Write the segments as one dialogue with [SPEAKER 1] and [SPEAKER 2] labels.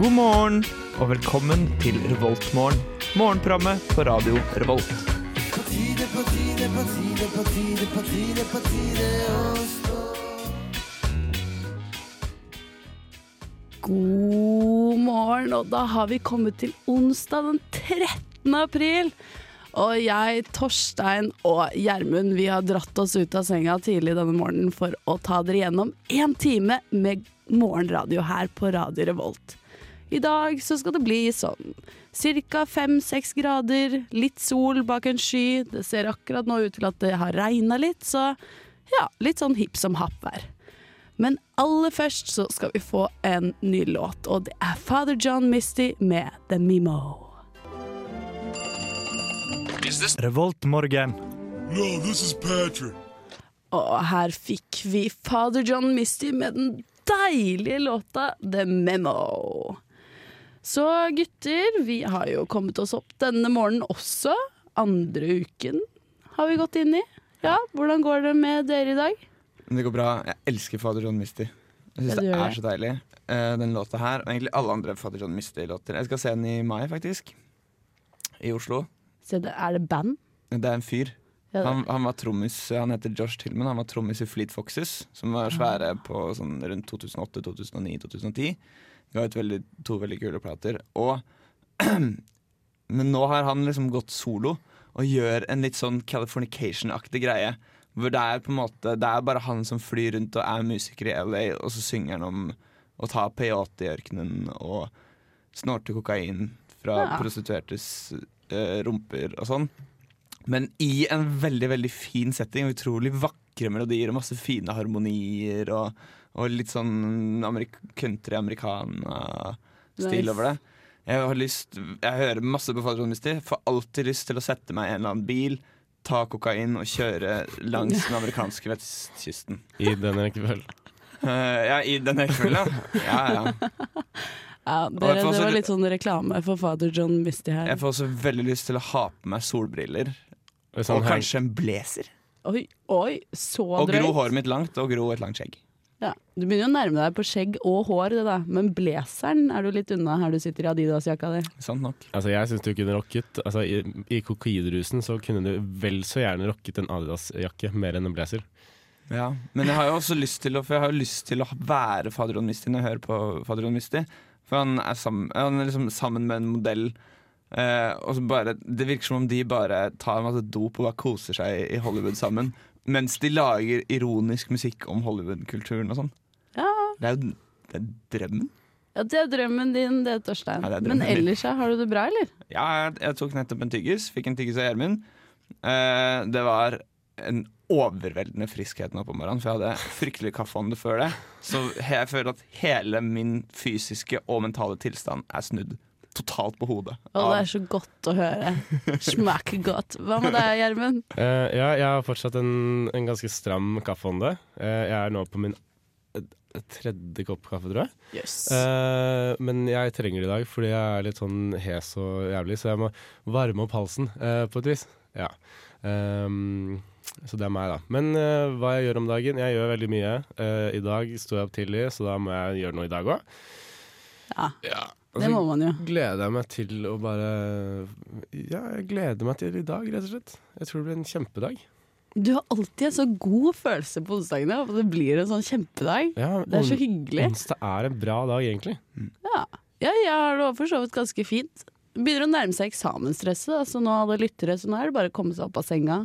[SPEAKER 1] God morgen og velkommen til Revoltmorgen. Morgenprogrammet på radio Revolt.
[SPEAKER 2] God morgen, og da har vi kommet til onsdag den 13. april. Og jeg, Torstein og Gjermund, vi har dratt oss ut av senga tidlig denne morgenen for å ta dere gjennom én time med morgenradio her på Radio Revolt. I dag så skal det bli sånn ca. fem-seks grader, litt sol bak en sky. Det ser akkurat nå ut til at det har regna litt, så ja, litt sånn hipp som happ vær. Men aller først så skal vi få en ny låt, og det er Father John Misty med The Mimo.
[SPEAKER 1] Revoltmorgen.
[SPEAKER 3] No, this is Patrick.
[SPEAKER 2] Og her fikk vi Father John Misty med den deilige låta The Memo. Så gutter, vi har jo kommet oss opp denne morgenen også. Andre uken har vi gått inn i. Ja, hvordan går det med dere i dag?
[SPEAKER 4] Men det går bra. Jeg elsker Fader John Misty. Jeg
[SPEAKER 2] Ja,
[SPEAKER 4] syns
[SPEAKER 2] du
[SPEAKER 4] det
[SPEAKER 2] gjør
[SPEAKER 4] er
[SPEAKER 2] det.
[SPEAKER 4] så deilig. Eh, den låta her, og egentlig alle andre Fader John Misty-låter. Jeg skal se den i mai, faktisk. I Oslo.
[SPEAKER 2] Se, det- Er det band?
[SPEAKER 4] Det er en fyr.
[SPEAKER 2] Ja, det-
[SPEAKER 4] Han, han var trommis Han heter Josh Tillman. Han var trommis i Fleet Foxes, som var svære på sånn rundt 2008, 2009, 2010. Det var et veldig, to veldig kule plater. Og Men nå har han liksom gått solo og gjør en litt sånn Californication-aktig greie. Hvor det er på en måte Det er bare han som flyr rundt og er musiker i LA, og så synger han om å ta peyote i ørkenen og snorte kokain fra
[SPEAKER 2] Ja.
[SPEAKER 4] prostituertes eh, rumper og sånn. Men i en veldig veldig fin setting. og Utrolig vakre melodier og masse fine harmonier. Og, og litt sånn amerik country-americana-stil
[SPEAKER 2] Nice.
[SPEAKER 4] over det. Jeg har lyst Jeg hører masse på Fader John Misty. Får alltid lyst til å sette meg i en eller annen bil, ta kokain og kjøre langs den amerikanske vestkysten.
[SPEAKER 5] I denne rekkefølgen.
[SPEAKER 4] Eh, ja, i denne rekkefølgen, ja. ja, ja.
[SPEAKER 2] Ja,
[SPEAKER 4] Og
[SPEAKER 2] dere,
[SPEAKER 4] jeg får
[SPEAKER 2] det
[SPEAKER 4] også-
[SPEAKER 2] var litt sånn reklame for Father John Misty her.
[SPEAKER 4] Jeg får også veldig lyst til å ha på meg solbriller.
[SPEAKER 5] Hvis han
[SPEAKER 4] Og
[SPEAKER 5] hang-
[SPEAKER 4] kanskje en blazer.
[SPEAKER 2] Oi, oi, så drøyt.
[SPEAKER 4] Og gro håret mitt langt, og gro et langt skjegg.
[SPEAKER 2] Ja. Du begynner jo å nærme deg på skjegg og hår, det da. men blazeren er du litt unna her du sitter i Adidas-jakka di.
[SPEAKER 4] Sant nok.
[SPEAKER 5] altså, jeg syns du kunne rocket altså, I, i kokainrusen så kunne du vel så gjerne rocket en Adidas-jakke mer enn en blazer.
[SPEAKER 4] Ja, Men jeg har jo også lyst til å, for jeg har jo lyst til å være Fader John Misty når jeg hører på Fader John Misty. For han er sammen, han er liksom sammen med en modell. Eh, og så bare, Det virker som om de bare tar masse dop og bare koser seg i Hollywood sammen. Mens de lager ironisk musikk om Hollywood-kulturen og sånn.
[SPEAKER 2] Ja.
[SPEAKER 4] Det er jo det er drømmen.
[SPEAKER 2] ja, det er drømmen din det, Torstein.
[SPEAKER 4] Ja, det er drømmen
[SPEAKER 2] men
[SPEAKER 4] min.
[SPEAKER 2] ellers, ja, har du det bra, eller?
[SPEAKER 4] Ja, jeg, jeg tok nettopp en tyggis. Fikk en tyggis av Gjermund. Eh, det var en overveldende friskhet nå på morgenen, for jeg hadde fryktelig kaffeånde før det. Så jeg føler at hele min fysiske og mentale tilstand er snudd totalt på hodet.
[SPEAKER 2] Å, det
[SPEAKER 4] Av,
[SPEAKER 2] er så godt å høre. Smaker godt. Hva med deg, Gjermund?
[SPEAKER 5] Eh, ja, jeg har fortsatt en, en ganske stram kaffehånde. Eh, jeg er nå på min eh, tredje kopp kaffe, tror jeg.
[SPEAKER 2] Yes.
[SPEAKER 5] Eh, men jeg trenger det i dag fordi jeg er litt sånn hes og jævlig, så jeg må varme opp halsen eh, på et vis. Ja. Ehm, så det er meg, da. Men eh, hva jeg gjør om dagen? Jeg gjør veldig mye. Eh, I dag sto jeg opp tidlig, så da må jeg gjøre noe i dag òg.
[SPEAKER 2] Ja.
[SPEAKER 4] altså,
[SPEAKER 5] ja. Og
[SPEAKER 2] Det
[SPEAKER 5] så
[SPEAKER 2] må man jo.
[SPEAKER 5] gleder jeg meg til å bare Ja, jeg gleder meg til i dag, rett og slett. Jeg tror det blir en kjempedag.
[SPEAKER 2] Du har alltid en så god følelse på onsdagene, og det blir en sånn kjempedag.
[SPEAKER 5] Ja,
[SPEAKER 2] Det er så
[SPEAKER 5] on-
[SPEAKER 2] hyggelig.
[SPEAKER 5] Onsdag er en bra dag, egentlig.
[SPEAKER 2] Ja, ja jeg har det også for så vidt ganske fint. Begynner å nærme seg eksamensstresset, da, så nå alle lyttere, så nå er det bare å komme seg opp av senga.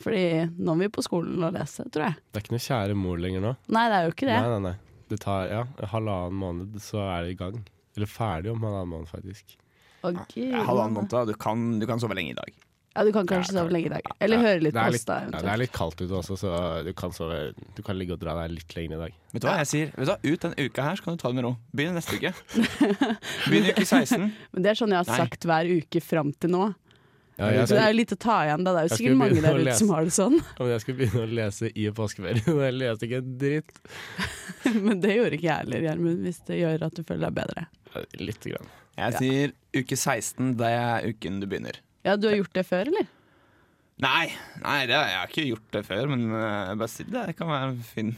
[SPEAKER 2] Fordi nå må vi på skolen og lese, tror jeg.
[SPEAKER 5] Det er ikke noe kjære mor lenger nå.
[SPEAKER 2] Nei, det er jo ikke det.
[SPEAKER 5] Nei, nei, nei. Det tar ja, halvannen måned, så er det i gang. Eller ferdig om halvannen måned, faktisk.
[SPEAKER 2] Ok.
[SPEAKER 4] ja, halvannen måned, da. du kan, du kan sove lenge i dag.
[SPEAKER 2] Ja, du kan kanskje sove lenge i dag. Eller høre litt
[SPEAKER 5] det er
[SPEAKER 2] på oss,
[SPEAKER 5] litt,
[SPEAKER 2] da.
[SPEAKER 5] ja, det er litt kaldt ute også, så du kan, sove, du kan ligge og dra deg litt lenger i dag.
[SPEAKER 4] Vet du hva jeg sier? Vet du hva? Ut den uka her, så kan du ta det med ro. Begynn neste uke. Begynn uke 16.
[SPEAKER 2] Men det er sånn jeg har
[SPEAKER 4] Nei.
[SPEAKER 2] sagt hver uke fram til nå.
[SPEAKER 5] Ja,
[SPEAKER 2] Så
[SPEAKER 5] jeg,
[SPEAKER 2] det
[SPEAKER 5] skal,
[SPEAKER 2] er jo litt å ta igjen, da. Det er jo
[SPEAKER 5] Jeg
[SPEAKER 2] sikkert
[SPEAKER 5] skulle
[SPEAKER 2] mange
[SPEAKER 5] begynne å
[SPEAKER 2] der ute
[SPEAKER 5] lese.
[SPEAKER 2] som har det sånn,
[SPEAKER 5] ja, men jeg skulle begynne å lese i påskeferien, og jeg leste ikke en dritt.
[SPEAKER 2] men det gjorde ikke jeg heller, Gjermund, hvis det gjør at du føler deg bedre.
[SPEAKER 5] Lite grann.
[SPEAKER 4] Jeg sier uke 16, det er uken du begynner.
[SPEAKER 2] Ja, du har gjort det før, eller?
[SPEAKER 4] Nei, nei det, jeg har ikke gjort det før, men eh, bare si det. Det kan være fin.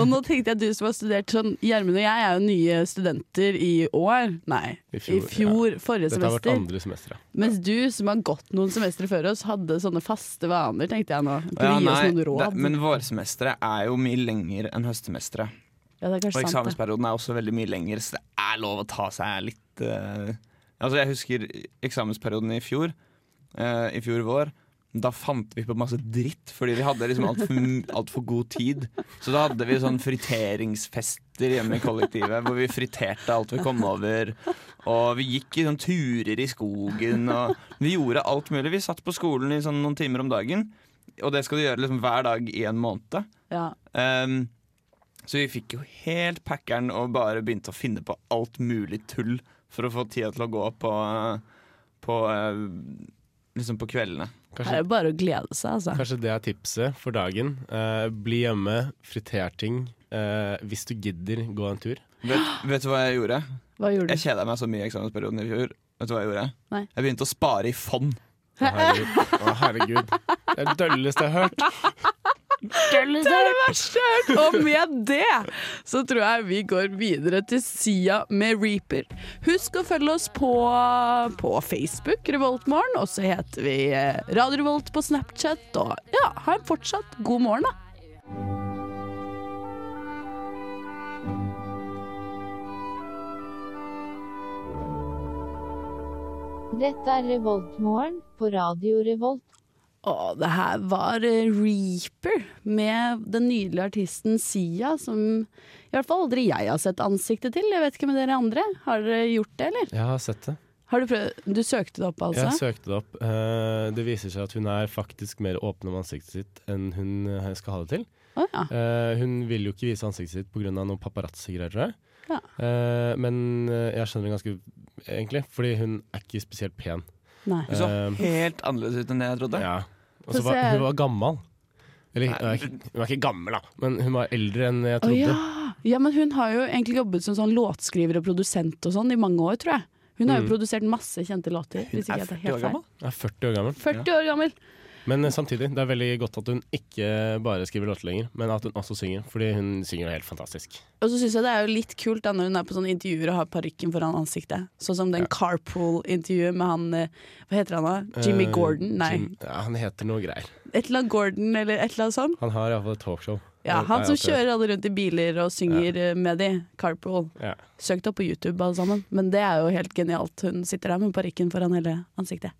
[SPEAKER 2] Og nå tenkte jeg at du som har studert sånn Gjermund og jeg er jo nye studenter i år. Nei,
[SPEAKER 5] I
[SPEAKER 2] i
[SPEAKER 5] fjor,
[SPEAKER 2] fjor. Forrige
[SPEAKER 5] Dette har vært
[SPEAKER 2] semester.
[SPEAKER 5] andre semester, ja.
[SPEAKER 2] Mens du som har gått noen semestre før oss, hadde sånne faste vaner, tenkte jeg nå. Kunne
[SPEAKER 4] Ja,
[SPEAKER 2] gi oss
[SPEAKER 4] nei,
[SPEAKER 2] noen råd.
[SPEAKER 4] det- men vårsemesteret er jo mye lenger enn høstsemesteret.
[SPEAKER 2] ja, det er
[SPEAKER 4] Og
[SPEAKER 2] kanskje sant, det.
[SPEAKER 4] eksamensperioden er også veldig mye lengre, så det er lov å ta seg litt eh, Altså, jeg husker eksamensperioden i fjor, eh, i fjor vår. Da fant vi på masse dritt, fordi vi hadde liksom altfor alt for god tid. Så da hadde vi sånn friteringsfester hjemme i kollektivet, hvor vi friterte alt vi kom over. Og vi gikk i sånn turer i skogen, og vi gjorde alt mulig. Vi satt på skolen i sånn noen timer om dagen, og det skal du gjøre liksom hver dag i en måned.
[SPEAKER 2] Ja.
[SPEAKER 4] Ehm, så vi fikk jo helt packeren og bare begynte å finne på alt mulig tull for å få tida til å gå på, på eh, Liksom på kveldene.
[SPEAKER 2] Det er
[SPEAKER 5] Kanskje,
[SPEAKER 2] jo bare å glede seg, altså.
[SPEAKER 5] kanskje det er tipset for dagen. Eh, bli hjemme, friter ting. Eh, hvis du gidder, gå en tur.
[SPEAKER 4] Vet, vet du hva jeg gjorde?
[SPEAKER 2] Hva gjorde
[SPEAKER 4] Jeg
[SPEAKER 2] du?
[SPEAKER 4] kjeda meg så mye i eksamensperioden i fjor. Vet du hva Jeg gjorde?
[SPEAKER 2] Nei.
[SPEAKER 4] Jeg begynte å spare i fond.
[SPEAKER 5] Å, herregud. Å, herregud. Det er det dølleste jeg har hørt.
[SPEAKER 2] Det er det verste jeg har hørt! Og med det så tror jeg vi går videre til Sia med Reaper. Husk å følge oss på, på Facebook, Revoltmorgen, og så heter vi eh, Radio Revolt på Snapchat. Og ja, ha en fortsatt god morgen, da.
[SPEAKER 6] Dette er Revoltmorgen på Radio Revolt.
[SPEAKER 2] Å, det her var eh, Reaper med den nydelige artisten Sia, som i hvert fall aldri jeg har sett ansiktet til. Jeg vet ikke med dere andre. Har dere gjort det, eller?
[SPEAKER 5] Jeg har sett det.
[SPEAKER 2] Har du prøvd? Du søkte det opp, altså?
[SPEAKER 5] Jeg søkte det opp. Eh, det viser seg at hun er faktisk mer åpen om ansiktet sitt enn hun eh, skal ha det til.
[SPEAKER 2] Å, ja.
[SPEAKER 5] Eh, hun vil jo ikke vise ansiktet sitt pga. noen paparazzi-greier, tror jeg.
[SPEAKER 2] Ja.
[SPEAKER 5] Eh, men eh, jeg skjønner det ganske egentlig, fordi hun er ikke spesielt pen.
[SPEAKER 2] Nei.
[SPEAKER 4] Hun så
[SPEAKER 5] Eh,
[SPEAKER 4] Liksom. helt annerledes ut enn det jeg trodde.
[SPEAKER 5] Ja. Og så
[SPEAKER 2] Få
[SPEAKER 5] var
[SPEAKER 2] se.
[SPEAKER 5] hun var gammel. Eller hun er, ikke, hun er ikke gammel, da, men hun var eldre enn jeg
[SPEAKER 2] Å
[SPEAKER 5] trodde.
[SPEAKER 2] ja. ja, men hun har jo egentlig jobbet som sånn låtskriver og produsent og sånn i mange år, tror jeg. Hun har jo
[SPEAKER 5] Mm.
[SPEAKER 2] produsert masse kjente låter. Hvis
[SPEAKER 4] Jeg
[SPEAKER 2] ikke
[SPEAKER 4] er
[SPEAKER 2] jeg tar
[SPEAKER 4] 40
[SPEAKER 2] helt
[SPEAKER 4] år
[SPEAKER 2] feil.
[SPEAKER 4] gammel.
[SPEAKER 5] Hun er 40 år gammel.
[SPEAKER 2] 40 år gammel!
[SPEAKER 5] Men eh, samtidig, det er veldig godt at hun ikke bare skriver låter lenger, men at hun også synger. Fordi hun synger jo helt fantastisk.
[SPEAKER 2] Og så syns jeg det er jo litt kult da når hun er på sånne intervjuer og har parykken foran ansiktet. Sånn som den carpool-intervjuet med han eh, Hva heter han da? Jimmy
[SPEAKER 5] Eh,
[SPEAKER 2] Gordon? Nei.
[SPEAKER 5] Jim, ja, han heter noe greier.
[SPEAKER 2] Et eller annet Gordon, eller et eller annet sånt.
[SPEAKER 5] Han har iallfall et talkshow.
[SPEAKER 2] Ja,
[SPEAKER 5] Eh,
[SPEAKER 2] han som
[SPEAKER 5] nei, at det-
[SPEAKER 2] kjører alle rundt i biler og synger eh, med de. Carpool.
[SPEAKER 5] Ja.
[SPEAKER 2] Søkt opp på YouTube alle sammen, men det er jo helt genialt. Hun sitter der med parykken foran hele ansiktet.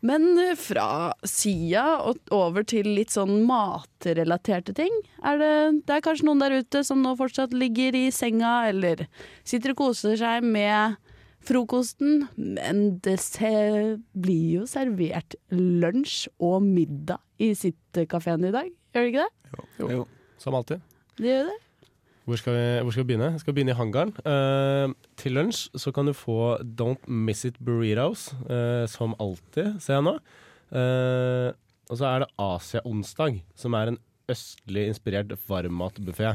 [SPEAKER 2] Men eh, fra Sia og over til litt sånn matrelaterte ting. Er det, det er kanskje noen der ute som nå fortsatt ligger i senga eller sitter og koser seg med frokosten, men det se, blir jo servert lunsj og middag i sittekafeen i dag, gjør det ikke det?
[SPEAKER 5] Jo.
[SPEAKER 4] Jo.
[SPEAKER 5] Som alltid.
[SPEAKER 2] Det gjør det.
[SPEAKER 5] Hvor skal vi, hvor skal vi begynne? Vi skal begynne i hangaren. Eh, til lunsj så kan du få Don't Miss It Burritos, eh, som alltid, ser jeg nå. Eh, og så er det Asia-onsdag, som er en østlig inspirert varmmatbuffé.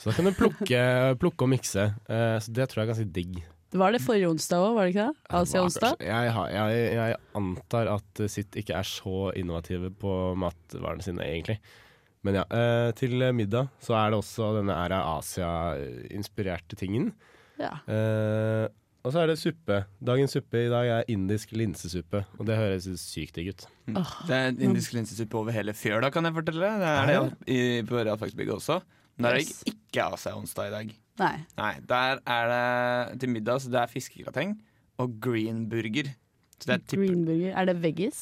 [SPEAKER 5] Så da kan du plukke, plukke og mikse. Eh, så det tror jeg er ganske digg.
[SPEAKER 2] Var det forrige onsdag òg, var det ikke det? Asia onsdag?
[SPEAKER 5] Jeg, har- jeg, jeg antar at sitt ikke er så innovative på matvarene sine, egentlig. Men ja, eh, til middag så er det også denne her Asia-inspirerte tingen.
[SPEAKER 2] Ja.
[SPEAKER 5] Eh, og så er det suppe. Dagens suppe i dag er indisk linsesuppe. Og det høres sykt digg ut.
[SPEAKER 4] Det er et indisk linsesuppe over hele fjøla, kan jeg fortelle. deg. Det er det i, på realfagsbygget også. Men der
[SPEAKER 2] Yes.
[SPEAKER 4] gikk ikke av seg onsdag i dag.
[SPEAKER 2] Nei.
[SPEAKER 4] Nei, der er det til middag så det er fiskegrateng og green burger. Så det er tipper,
[SPEAKER 2] Greenburger. Er det veggis?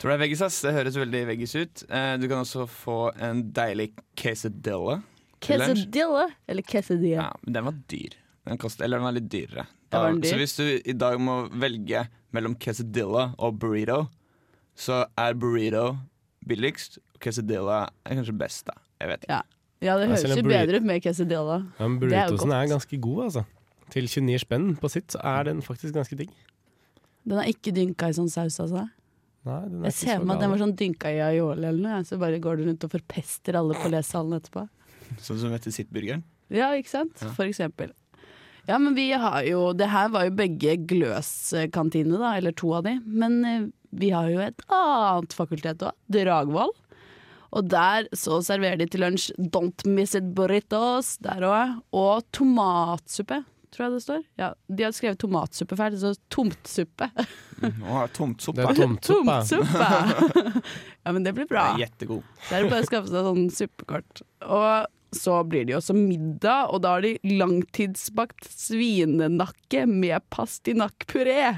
[SPEAKER 4] Tror det er veggis, ass. Det høres veldig veggis ut. Eh, du kan også få en deilig quesadilla. Til lunsj.
[SPEAKER 2] Quesadilla? Eller quesadilla.
[SPEAKER 4] Ja, men den var dyr. Den kost, eller den var litt dyrere.
[SPEAKER 2] Ja, var den dyr?
[SPEAKER 4] Så hvis du i dag må velge mellom quesadilla og burrito, så er burrito billigst. og Quesadilla er kanskje best, da. Jeg vet ikke.
[SPEAKER 2] Ja, det
[SPEAKER 5] Ja,
[SPEAKER 2] høres
[SPEAKER 5] selv
[SPEAKER 2] jo
[SPEAKER 5] en burrito-
[SPEAKER 2] bedre ut med quesadilla.
[SPEAKER 5] Ja, Men
[SPEAKER 2] Det er jo
[SPEAKER 5] burritosen er,
[SPEAKER 2] godt.
[SPEAKER 5] ganske god, altså. Til 29 spenn på sitt så er den faktisk ganske digg.
[SPEAKER 2] Den er ikke dynka i sånn saus, altså.
[SPEAKER 5] Nei, den er
[SPEAKER 2] Jeg ser for meg at den var sånn dynka i aioli eller noe, ja, så bare går du rundt og forpester alle på lesesalen etterpå.
[SPEAKER 4] Sånn som heter sittburgeren.
[SPEAKER 2] Ja, ikke sant? For eksempel. Ja, men vi har jo Det her var jo begge Gløs-kantinene, da, eller to av de. Men eh, Vi har jo et annet fakultet òg, Dragvoll. Og der så serverer de til lunsj Don't miss it burritos der òg. Og tomatsuppe, tror jeg det står. Ja, de har skrevet tomatsuppe feil, det står tomtsuppe.
[SPEAKER 4] Å, tomt sopp,
[SPEAKER 5] Det er
[SPEAKER 4] da.
[SPEAKER 5] tomtsuppe.
[SPEAKER 2] Tomtsuppe! ja, men det blir bra.
[SPEAKER 4] Det er Gjettegod.
[SPEAKER 2] Det er bare å skaffe seg sånn suppekort. Og så blir det jo også middag, og da har de langtidsbakt svinenakke med pastinakkpuré.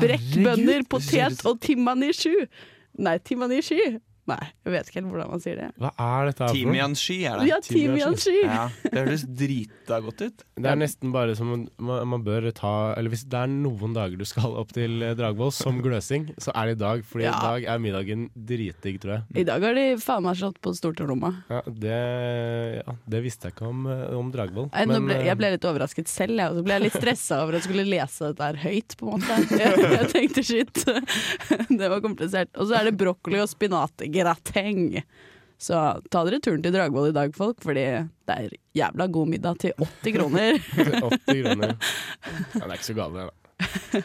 [SPEAKER 2] Brekkbønner, potet og timanishu. Nei, timanishu. Nei, jeg vet ikke helt hvordan man sier det.
[SPEAKER 5] Hva er dette her for noe?
[SPEAKER 4] Timiansky er det.
[SPEAKER 2] Ja, timiansky!
[SPEAKER 4] Ja, det høres drita godt ut.
[SPEAKER 5] Det er nesten bare som man, man man bør ta Eller hvis det er noen dager du skal opp til eh, Dragvoll som gløsing, så er det i dag. Fordi i
[SPEAKER 2] Ja.
[SPEAKER 5] dag er middagen dritdigg, tror jeg.
[SPEAKER 2] I dag har de faen meg slått på stortromma.
[SPEAKER 5] Ja, det, ja, det visste jeg ikke om, eh, om Dragvoll.
[SPEAKER 2] Jeg, nå
[SPEAKER 5] men,
[SPEAKER 2] ble,
[SPEAKER 5] eh,
[SPEAKER 2] jeg ble litt overrasket selv, jeg, og så ble jeg litt stressa over at jeg skulle lese dette her høyt, på en måte. Jeg, jeg tenkte shit, det var komplisert. Og så er det brokkoli og spinatgrateng. Så ta dere turen til Dragvoll i dag, folk, fordi det er jævla god middag til 80 kroner.
[SPEAKER 5] eh, 80 kroner. Ja, det er ikke så galt, det. da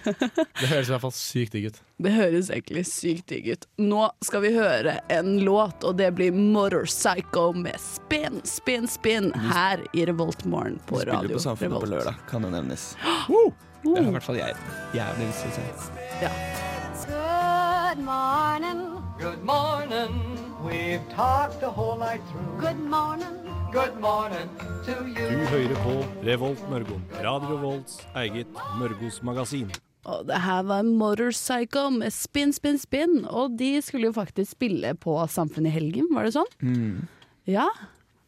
[SPEAKER 5] Det høres i hvert fall sykt digg ut.
[SPEAKER 2] Det høres egentlig sykt digg ut. Nå skal vi høre en låt, og det blir Motorpsycho med Spin, Spin, Spin her i Revoltmorgen på
[SPEAKER 4] Spiller
[SPEAKER 2] radio.
[SPEAKER 4] på Samfunnet på
[SPEAKER 2] Revolt.
[SPEAKER 4] lørdag, kan det nevnes.
[SPEAKER 2] Oh.
[SPEAKER 4] Det har i hvert fall jeg jævlig lyst til å se.
[SPEAKER 7] Good morning.
[SPEAKER 8] Good morning. We've talked the whole night through.
[SPEAKER 7] Good morning.
[SPEAKER 8] Good morning to you.
[SPEAKER 9] hører på Revolt Mørgo. Radio Revolts eget Mørgos magasin.
[SPEAKER 2] Og det her var Motorpsycho med Spin, Spin, Spin. Og de skulle jo faktisk spille på Samfunnet i helgen, var det sånn? Ja.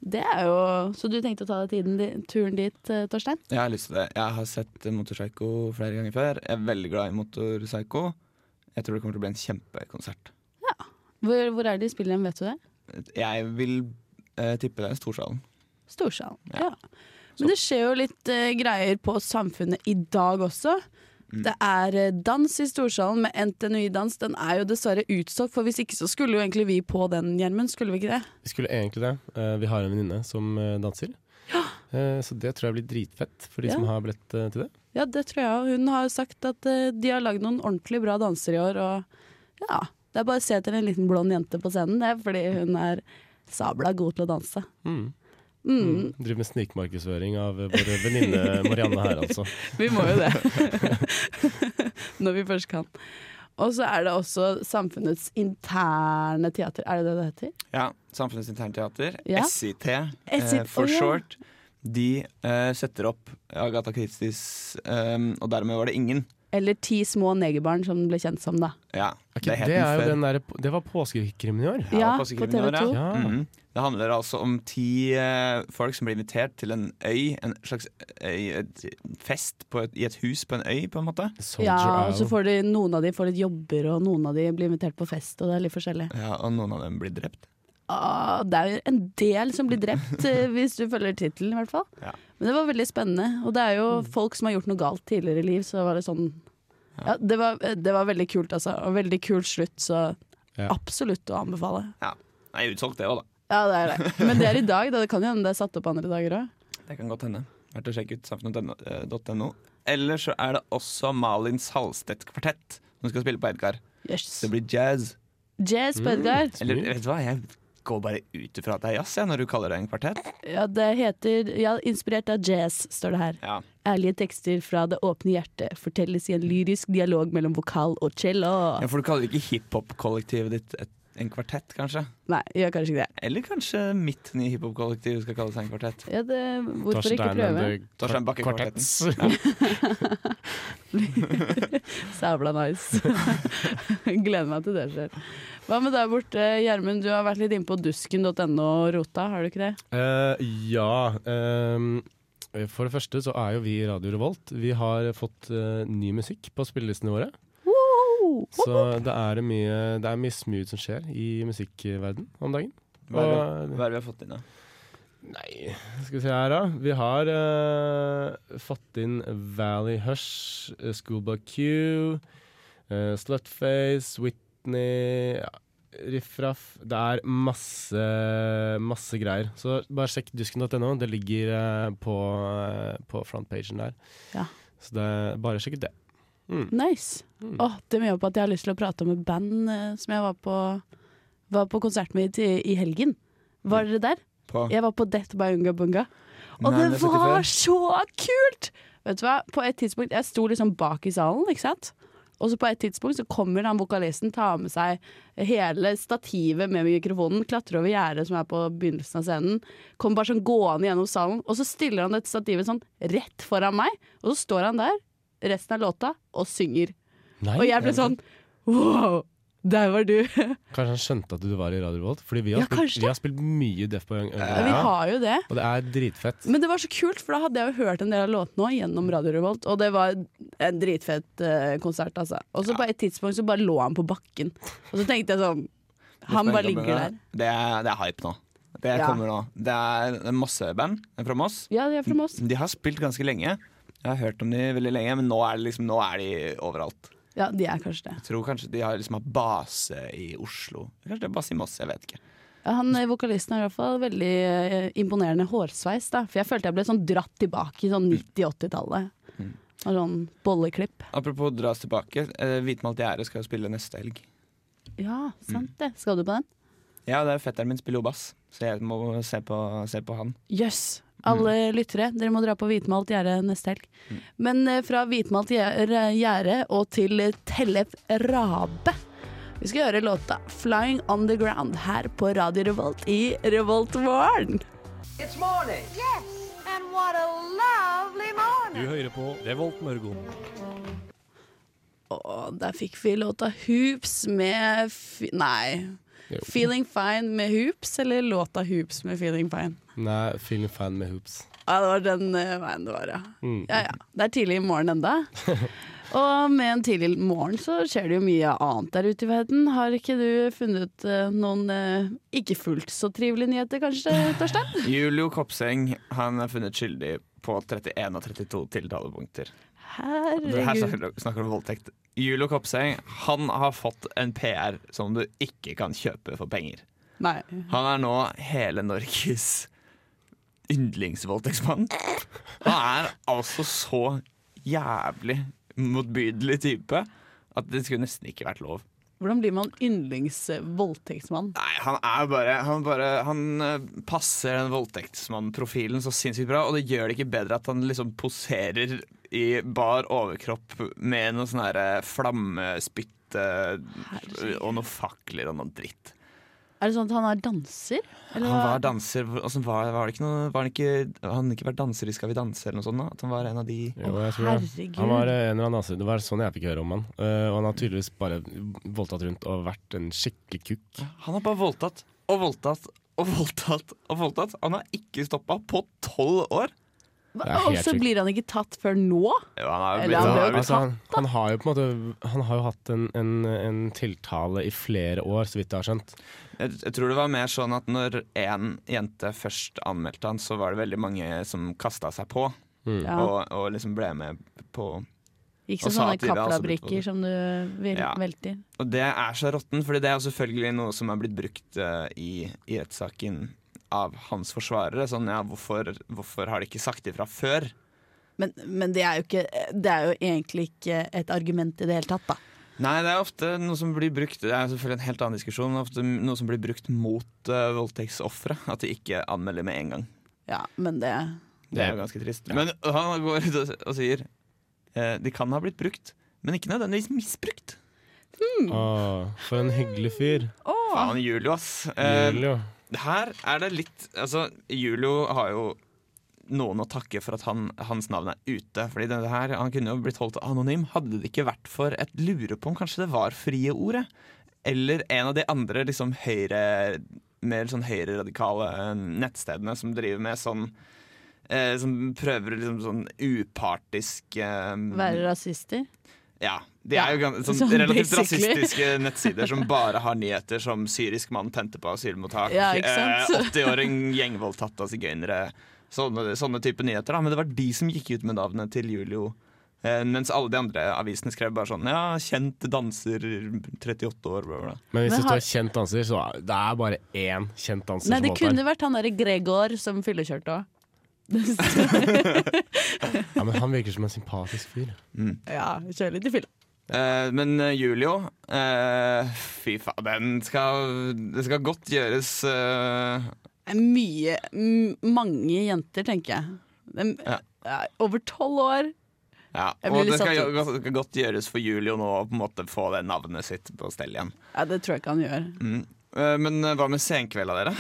[SPEAKER 2] Det er jo Så du tenkte å ta deg tiden, di- turen dit, eh, Torstein?
[SPEAKER 4] Jeg har lyst til det. Jeg har sett eh, Motorpsycho flere ganger før. Jeg er veldig glad i Motorpsycho. Jeg tror det kommer til å bli en kjempekonsert.
[SPEAKER 2] Hvor, hvor er det de spiller hen, vet du det?
[SPEAKER 4] Jeg vil eh, tippe det er Storsalen.
[SPEAKER 2] Storsalen. Ja. Men det skjer jo litt eh, greier på Samfunnet i dag også. Det er eh, dans i Storsalen med NTNUI-dans. Den er jo dessverre utsolgt, for hvis ikke så skulle jo egentlig vi på den, Gjermund. Skulle vi ikke det?
[SPEAKER 5] Vi skulle egentlig det. Eh, Vi har en venninne som eh, danser. Eh, Så det tror jeg blir dritfett for de
[SPEAKER 2] Ja.
[SPEAKER 5] som har billett eh, til det.
[SPEAKER 2] Ja, det tror jeg. og Hun har jo sagt at eh, de har lagd noen ordentlig bra dansere i år. Og ja, det er bare å se etter en liten blond jente på scenen, det, fordi hun er sabla god til å danse.
[SPEAKER 5] Mm.
[SPEAKER 2] Mm,
[SPEAKER 5] Driver med snikmarkedsføring av eh, vår venninne Marianne her, altså.
[SPEAKER 2] vi må jo det. Når vi først kan. Og så er det også samfunnets interne teater, er det det det heter?
[SPEAKER 4] Ja, Samfunnets internteater.
[SPEAKER 2] Ja.
[SPEAKER 4] SIT, eh,
[SPEAKER 2] SIT,
[SPEAKER 4] for
[SPEAKER 2] å ja.
[SPEAKER 4] short. De eh, setter opp Agatha Christies eh, Og dermed var det ingen.
[SPEAKER 2] Eller Ti små negerbarn, som den ble kjent som da.
[SPEAKER 4] Ja,
[SPEAKER 5] Det,
[SPEAKER 4] het
[SPEAKER 5] er jo
[SPEAKER 4] før.
[SPEAKER 5] den der, det var påskekrimmen i år.
[SPEAKER 4] Ja,
[SPEAKER 2] Ja,
[SPEAKER 4] på
[SPEAKER 2] på
[SPEAKER 4] Sikkerheten i
[SPEAKER 2] TV
[SPEAKER 4] år,
[SPEAKER 2] 2.
[SPEAKER 4] ja.
[SPEAKER 5] Ja.
[SPEAKER 4] Mhm. Det handler altså om ti eh, folk som blir invitert til en øy, en slags øy, et fest på et, i et hus på en øy, på en måte.
[SPEAKER 5] Soldier
[SPEAKER 2] Ja, og så
[SPEAKER 5] Isle.
[SPEAKER 2] får de, noen av de får litt jobber, og noen av de blir invitert på fest, og det er litt forskjellig.
[SPEAKER 4] Ja, og noen av dem blir drept.
[SPEAKER 2] Ah, det er jo en del som blir drept, eh, hvis du følger tittelen i hvert fall.
[SPEAKER 4] Ja. Mm.
[SPEAKER 2] Men det var veldig spennende. Og det er jo folk som har gjort noe galt tidligere i liv, så var det sånn ja, det, var, eh, det var veldig kult, altså. Og veldig kul slutt, så
[SPEAKER 5] Ja.
[SPEAKER 2] absolutt å anbefale.
[SPEAKER 4] Ja. Nei, utsolgt det òg, da.
[SPEAKER 2] Ja, det er det. Men det er i dag, da. Det kan jo hende det er satt opp andre dager òg.
[SPEAKER 4] Det kan godt hende. Verdt å sjekke ut samfunnet.no. eh, Eller så er det også Malin Salstedt Kvartett som skal spille på Edgar.
[SPEAKER 2] Yes.
[SPEAKER 4] Det blir Mm. jazz.
[SPEAKER 2] Jazz på Edgar.
[SPEAKER 4] Eller eh, vet du hva, jeg går bare ut ifra at det er jazz jeg, når du kaller det en kvartett.
[SPEAKER 2] Ja, det heter Ja, inspirert av jazz, står det her.
[SPEAKER 4] Ja.
[SPEAKER 2] Ærlige tekster fra det åpne hjertet fortelles i en lyrisk dialog mellom vokal og cello.
[SPEAKER 4] ja, For du kaller ikke hiphop-kollektivet ditt et, en kvartett, kanskje?
[SPEAKER 2] Nei, gjør kanskje ikke det.
[SPEAKER 4] Eller kanskje mitt nye hiphop-kollektiv skal kalle seg en kvartett.
[SPEAKER 2] Ja, det hvorfor
[SPEAKER 5] Torstein
[SPEAKER 2] ikke
[SPEAKER 5] and
[SPEAKER 2] prøve?
[SPEAKER 5] the
[SPEAKER 4] Torstein Bakke
[SPEAKER 5] Quartets.
[SPEAKER 2] Sævla nice. Gleder meg til det skjer. Hva med der borte, Gjermund? Du har vært litt inne på dusken.no og rota, har du ikke det?
[SPEAKER 5] Eh, ja. ehm, for det første så er jo vi i Radio Revolt. Vi har fått eh, ny musikk på spillelistene våre. Så det er, mye, det er mye smooth som skjer i musikkverden om dagen.
[SPEAKER 4] Hva er det,
[SPEAKER 5] Og-
[SPEAKER 4] hva er det vi har fått inn, da?
[SPEAKER 5] Nei, skal vi se her da Vi har eh, fått inn Valley Hush, eh, Schoolboy Q eh, Slutface, Whitney ja, Riffraff Det er masse, masse greier Så bare sjekk dusken.no Det ligger eh, på, eh, på frontpagen der
[SPEAKER 2] Ja.
[SPEAKER 5] Så det, bare sjekk ut det Mm.
[SPEAKER 2] Nice. Åh, det må gjøre på at jeg har lyst til å prate om et band eh, som jeg var på, var på konsert med i, i helgen. Var
[SPEAKER 5] Mm.
[SPEAKER 2] dere der?
[SPEAKER 4] På.
[SPEAKER 2] Jeg var på Death by Unga Bunga.
[SPEAKER 4] Nei,
[SPEAKER 2] Og
[SPEAKER 4] det har jeg
[SPEAKER 2] det
[SPEAKER 4] sett
[SPEAKER 2] var
[SPEAKER 4] før.
[SPEAKER 2] så kult! Vet du hva, på et tidspunkt Jeg sto liksom bak i salen, ikke sant? Og så på et tidspunkt så kommer han vokalisten, tar med seg hele stativet med mikrofonen, klatrer over gjerdet som er på begynnelsen av scenen, kommer bare sånn gående gjennom salen, og så stiller han dette stativet sånn rett foran meg, og så står han der resten av låta og synger.
[SPEAKER 5] Nei,
[SPEAKER 2] Og jeg ble sånn wow, der var du.
[SPEAKER 5] Kanskje han skjønte at du var i Radio Revolt? Fordi vi
[SPEAKER 2] Ja,
[SPEAKER 5] har,
[SPEAKER 2] kanskje.
[SPEAKER 5] spilt, vi har spilt mye Deaf på Young.
[SPEAKER 2] Vi har Mm. jo det.
[SPEAKER 5] Og det er dritfett.
[SPEAKER 2] Men det var så kult, for da hadde jeg jo hørt en del av låtene også gjennom Radio Revolt, og det var en dritfett eh, konsert, altså. Og så på et tidspunkt så bare lå han på bakken, og så tenkte jeg sånn Han bare ligger der.
[SPEAKER 4] Det er, det er hype nå. Det
[SPEAKER 2] Ja.
[SPEAKER 4] kommer nå. Det er, det er masse band fra Moss.
[SPEAKER 2] Ja, de er fra Moss.
[SPEAKER 4] De har spilt ganske lenge. Jeg har hørt om de veldig lenge, men nå er, det liksom, nå er de overalt.
[SPEAKER 2] Ja, de er kanskje det.
[SPEAKER 4] Jeg tror kanskje de har liksom hatt base i Oslo. Kanskje det er base i Moss, jeg vet ikke.
[SPEAKER 2] Ja, Han eh, vokalisten har i hvert fall veldig eh, imponerende hårsveis, da. For jeg følte jeg ble sånn dratt tilbake i sånn 90-80-tallet. Og sånn bolleklipp.
[SPEAKER 4] Apropos dras tilbake, eh, Hvitmalt gjerde skal jo spille neste helg.
[SPEAKER 2] Ja, sant det. Skal du på den?
[SPEAKER 4] Ja, det er fetteren min spiller jo bass, så jeg må se på, se på han.
[SPEAKER 2] Jøss. Alle lyttere, dere må dra på hvitmalt gjerde neste helg. Men eh, fra hvitmalt gjer- gjerde og til Tellef Rabe. Vi skal gjøre låta 'Flying Underground' her på Radio Revolt i Revolt Morgen.
[SPEAKER 8] It's morning. Yes, and what a lovely morning.
[SPEAKER 9] Du hører på Revolt Mørgon.
[SPEAKER 2] Og der fikk vi låta 'Hoops' med fi Nei.
[SPEAKER 5] Jo.
[SPEAKER 2] 'Feeling Fine' med Hoops, eller låta 'Hoops' med 'Feeling Fine'?
[SPEAKER 5] Nei, feeling fan med hoops.
[SPEAKER 2] Ja, det var den eh, veien det var, ja.
[SPEAKER 5] Mm.
[SPEAKER 2] ja, ja. Det er tidlig i morgen enda. Og med en tidlig morgen så skjer det jo mye annet der ute i verden. Har ikke du funnet eh, noen eh, ikke fullt så trivelige nyheter, kanskje, Torstein?
[SPEAKER 4] Julio Kopseng han er funnet skyldig på 31 av 32 tiltalepunkter. Det Her
[SPEAKER 2] Herregud.
[SPEAKER 4] snakker, snakker om voldtekt. Julio Kopseng han har fått en PR som du ikke kan kjøpe for penger.
[SPEAKER 2] Nei.
[SPEAKER 4] Han er nå hele Norges yndlingsvoldtektsmann. Han er altså så jævlig motbydelig type at det skulle nesten ikke vært lov.
[SPEAKER 2] Hvordan blir man yndlingsvoldtektsmann?
[SPEAKER 4] Nei, han er bare Han, bare, han eh, passer den voldtektsmannprofilen så sinnssykt bra, og det gjør det ikke bedre at han liksom poserer i bar overkropp med noe sånn herre flammespytt eh, og noen fakler og noe dritt.
[SPEAKER 2] Er det sånn at han er danser? Eller
[SPEAKER 4] Han
[SPEAKER 2] hva?
[SPEAKER 4] var danser altså, var, var det ikke noe Var han ikke Har han ikke vært danser i Skal vi danse eller noe sånt? da? At han var en av de
[SPEAKER 5] Jo, jeg tror det.
[SPEAKER 2] herregud.
[SPEAKER 5] Han var eh, en eller annen nazi. Det var sånn jeg fikk høre om han. Eh, og han har tydeligvis bare voldtatt rundt og vært en skikkelig kukk.
[SPEAKER 4] Han har bare voldtatt og voldtatt og voldtatt og voldtatt. Han har ikke stoppa på tolv år!
[SPEAKER 2] Hva-
[SPEAKER 5] Det er
[SPEAKER 2] Og
[SPEAKER 5] helt
[SPEAKER 2] så
[SPEAKER 5] sykt.
[SPEAKER 2] blir han ikke tatt før nå?
[SPEAKER 4] Jo, han har jo
[SPEAKER 2] Eller
[SPEAKER 4] blitt-
[SPEAKER 2] han ble jo
[SPEAKER 4] har jo blitt-
[SPEAKER 5] altså, han, han har jo på en måte Han har jo hatt en, en, en tiltale i flere år, så vidt jeg har skjønt.
[SPEAKER 4] Jeg, jeg tror det var mer sånn at når én jente først anmeldte han, så var det veldig mange som kasta seg på
[SPEAKER 2] Ja.
[SPEAKER 4] og, og liksom ble med på Og
[SPEAKER 2] Ikke som
[SPEAKER 4] sa
[SPEAKER 2] sånne
[SPEAKER 4] at de da også ble
[SPEAKER 2] kaplabrikker som du vel-
[SPEAKER 4] Ja.
[SPEAKER 2] velter.
[SPEAKER 4] Og det er så råtten, fordi det er jo selvfølgelig noe som er blitt brukt eh, i, i rettssaken av hans forsvarere. Sånn, ja, hvorfor, hvorfor har de ikke sagt ifra før?
[SPEAKER 2] Men, men det, er jo ikke, det er jo egentlig ikke et argument i det hele tatt, da.
[SPEAKER 4] Nei, det er ofte noe som blir brukt Det er selvfølgelig en helt annen diskusjon, men ofte noe som blir brukt mot uh, voldtektsofre. At de ikke anmelder med en gang.
[SPEAKER 2] Ja, men det
[SPEAKER 4] Det er jo ganske trist. Men han går ut og, og sier eh, de kan ha blitt brukt, men ikke nødvendigvis misbrukt.
[SPEAKER 5] Åh, for en hyggelig fyr.
[SPEAKER 4] Faen, Julio, ass. Eh,
[SPEAKER 5] Julio.
[SPEAKER 4] her er det litt Altså, Julio har jo noen å takke for at han, hans navn er ute. Fordi det her, Han kunne jo blitt holdt anonym hadde det ikke vært for et lure på om kanskje det var frie ordet. Eller en av de andre liksom høyre mer sånn høyreradikale eh, nettstedene som driver med sånn eh, Som prøver liksom sånn upartisk eh,
[SPEAKER 2] Være rasister.
[SPEAKER 4] ja, De er jo gans- sånn
[SPEAKER 2] sånn
[SPEAKER 4] relativt
[SPEAKER 2] basically.
[SPEAKER 4] rasistiske nettsider som bare har nyheter som 'syrisk mann tente på asylmottak',
[SPEAKER 2] Ja, ikke sant?
[SPEAKER 4] eh, 80-åring gjengvoldtatt av sigøynere. Sånne, sånne type nyheter. da Men det var de som gikk ut med navnet til Julio. Eh, mens alle de andre avisene skrev bare sånn 'ja, kjent danser, 38 år', bla, bla.
[SPEAKER 5] Men
[SPEAKER 2] Men
[SPEAKER 5] hvis det
[SPEAKER 2] har-
[SPEAKER 5] står kjent danser, så er det er bare én kjent danser
[SPEAKER 2] Nei, det
[SPEAKER 5] som voldtar.
[SPEAKER 2] kunne vært han derre Gregor som fyllekjørte òg.
[SPEAKER 5] Ja, men han virker som en sympatisk fyr.
[SPEAKER 2] ja, kjør litt i fylla.
[SPEAKER 4] Eh, men eh, Julio eh, Fy faen, den skal Det skal godt gjøres eh,
[SPEAKER 2] Det er Mye m- Mange jenter, tenker jeg. Det er- det er Over tolv år.
[SPEAKER 4] Ja,
[SPEAKER 2] Jeg blir
[SPEAKER 4] og
[SPEAKER 2] litt
[SPEAKER 4] det skal,
[SPEAKER 2] satt
[SPEAKER 4] jo- godt- det skal godt gjøres for Julio nå å på en måte få det navnet sitt på stell igjen.
[SPEAKER 2] Ja, det tror jeg ikke han gjør.
[SPEAKER 4] Mm. Eh, Men eh, hva med senkvelda, dere?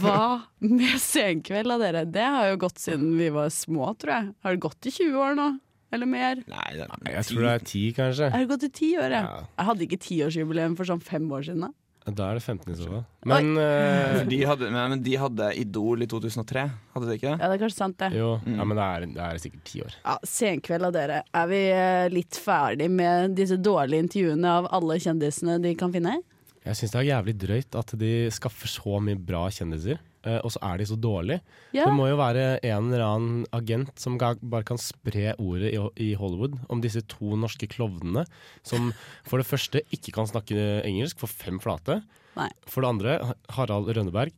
[SPEAKER 2] Hva med senkveld av dere? Det har jo gått siden vi var små, tror jeg. Har det gått i 20 år nå? Eller mer?
[SPEAKER 4] Nei, det er
[SPEAKER 5] Jeg tror det er ti, kanskje.
[SPEAKER 2] Har det gått i 10 år, ja?
[SPEAKER 5] Ja.
[SPEAKER 2] Jeg hadde ikke tiårsjubileum for sånn fem år siden. da.
[SPEAKER 5] Da er det 15 i så fall. Men eh,
[SPEAKER 4] de hadde, nei, men de hadde Idol i 2003, hadde de ikke det?
[SPEAKER 2] Ja, det er kanskje sant, det.
[SPEAKER 5] jo, ja, men det er, det er sikkert ti år.
[SPEAKER 2] Ja, Senkveld av dere. Er vi eh, litt ferdig med disse dårlige intervjuene av alle kjendisene de kan finne?
[SPEAKER 5] Jeg syns det er jævlig drøyt at de skaffer så mye bra kjendiser, eh, og så er de så dårlige.
[SPEAKER 2] Ja.
[SPEAKER 5] Det må jo være en eller annen agent som ga- bare kan spre ordet i, i Hollywood om disse to norske klovnene som for det første ikke kan snakke engelsk for fem flate.
[SPEAKER 2] Nei.
[SPEAKER 5] For det andre, Harald Rønneberg,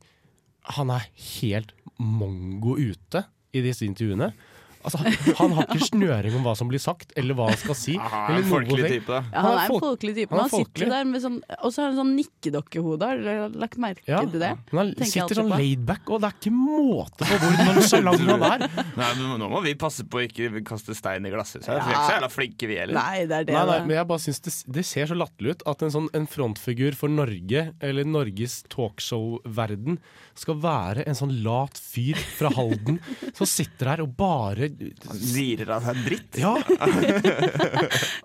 [SPEAKER 5] han er helt mongo ute i disse intervjuene. Altså, han har ikke snøring om hva som blir sagt, eller hva han skal si.
[SPEAKER 4] Ah,
[SPEAKER 5] eller
[SPEAKER 4] en
[SPEAKER 5] noen
[SPEAKER 4] folkelig
[SPEAKER 5] ting.
[SPEAKER 4] type.
[SPEAKER 2] Ja, han er en folkelig type.
[SPEAKER 5] han er
[SPEAKER 2] men Han sitter
[SPEAKER 5] folkelig.
[SPEAKER 2] der med sånn, Og så har han sånn nikkedokkehode. Har dere lagt merke
[SPEAKER 5] Ja,
[SPEAKER 2] til det?
[SPEAKER 5] men han
[SPEAKER 2] Tenker jeg
[SPEAKER 5] sitter
[SPEAKER 2] alltid
[SPEAKER 5] sånn
[SPEAKER 2] på.
[SPEAKER 5] laidback, og det er ikke måte på hvor nonchalant han er.
[SPEAKER 4] Nei, men nå må vi passe på å ikke kaste stein i glasshuset. her, for Vi er ikke så jævla flinke, vi heller.
[SPEAKER 2] Nei, det er det.
[SPEAKER 5] Nei, nei,
[SPEAKER 2] da.
[SPEAKER 5] men jeg bare synes det, det ser så latterlig ut at en sånn en frontfigur for Norge, eller Norges talkshow-verden, skal være en sånn lat fyr fra Halden som sitter her og bare
[SPEAKER 4] Han lirer av seg dritt.
[SPEAKER 5] Ja!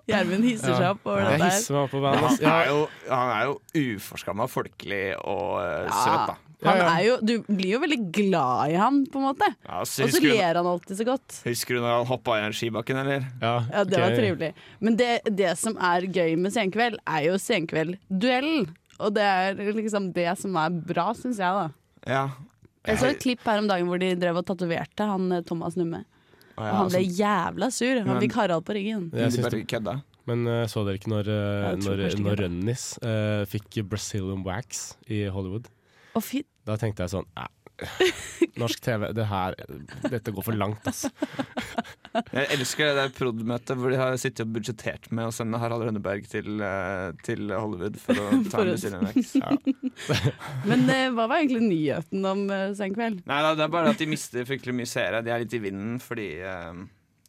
[SPEAKER 2] Gjermund hisser seg opp over
[SPEAKER 5] Jeg
[SPEAKER 2] det der.
[SPEAKER 5] hisser meg opp på
[SPEAKER 4] Men
[SPEAKER 5] hver
[SPEAKER 4] Han
[SPEAKER 5] natt. Ja,
[SPEAKER 4] er jo, han er jo uforskamma folkelig og eh, søt, da.
[SPEAKER 2] Ja, Han
[SPEAKER 5] Ja, ja.
[SPEAKER 2] er jo, du blir jo veldig glad i han, på en måte.
[SPEAKER 4] Ja, så
[SPEAKER 2] Og så
[SPEAKER 4] husker, du,
[SPEAKER 2] ler han alltid så godt.
[SPEAKER 4] husker du når han hoppa i den skibakken, eller?
[SPEAKER 2] Ja, det var
[SPEAKER 5] ok.
[SPEAKER 2] trivelig. Men det, det som er gøy med Senkveld, er jo Senkveld-duellen. Og det er liksom det som er bra, syns jeg, da.
[SPEAKER 4] Ja.
[SPEAKER 2] Jeg så et klipp her om dagen hvor de drev og tatoverte han eh, Thomas Numme.
[SPEAKER 4] Ah,
[SPEAKER 2] Og
[SPEAKER 4] ja,
[SPEAKER 2] han ble
[SPEAKER 4] altså,
[SPEAKER 2] jævla sur. Han
[SPEAKER 4] Men-
[SPEAKER 2] fikk Harald på ryggen.
[SPEAKER 5] Jeg
[SPEAKER 4] de
[SPEAKER 5] synes
[SPEAKER 4] bare
[SPEAKER 5] det,
[SPEAKER 4] kødda.
[SPEAKER 5] men eh, så dere ikke når, eh,
[SPEAKER 2] Jeg tror
[SPEAKER 5] når,
[SPEAKER 2] kanskje ikke
[SPEAKER 5] når
[SPEAKER 2] det.
[SPEAKER 5] Rønnis eh, fikk Brazilian wax i Hollywood?
[SPEAKER 2] Å fy,
[SPEAKER 5] Da tenkte jeg sånn "Nei, Norsk TV, det her, dette går for langt, ass.
[SPEAKER 4] Jeg elsker det der prod.-møtet hvor de har sittet og budsjettert med å sende Harald Rønneberg til, eh, til Hollywood for å ta
[SPEAKER 2] å-
[SPEAKER 4] en Brazilian Wax. Ja.
[SPEAKER 2] Men eh, hva var egentlig nyheten om eh, Senkveld?
[SPEAKER 4] Nei, da, det er bare at de mister fryktelig mye seere. De er litt i vinden fordi eh,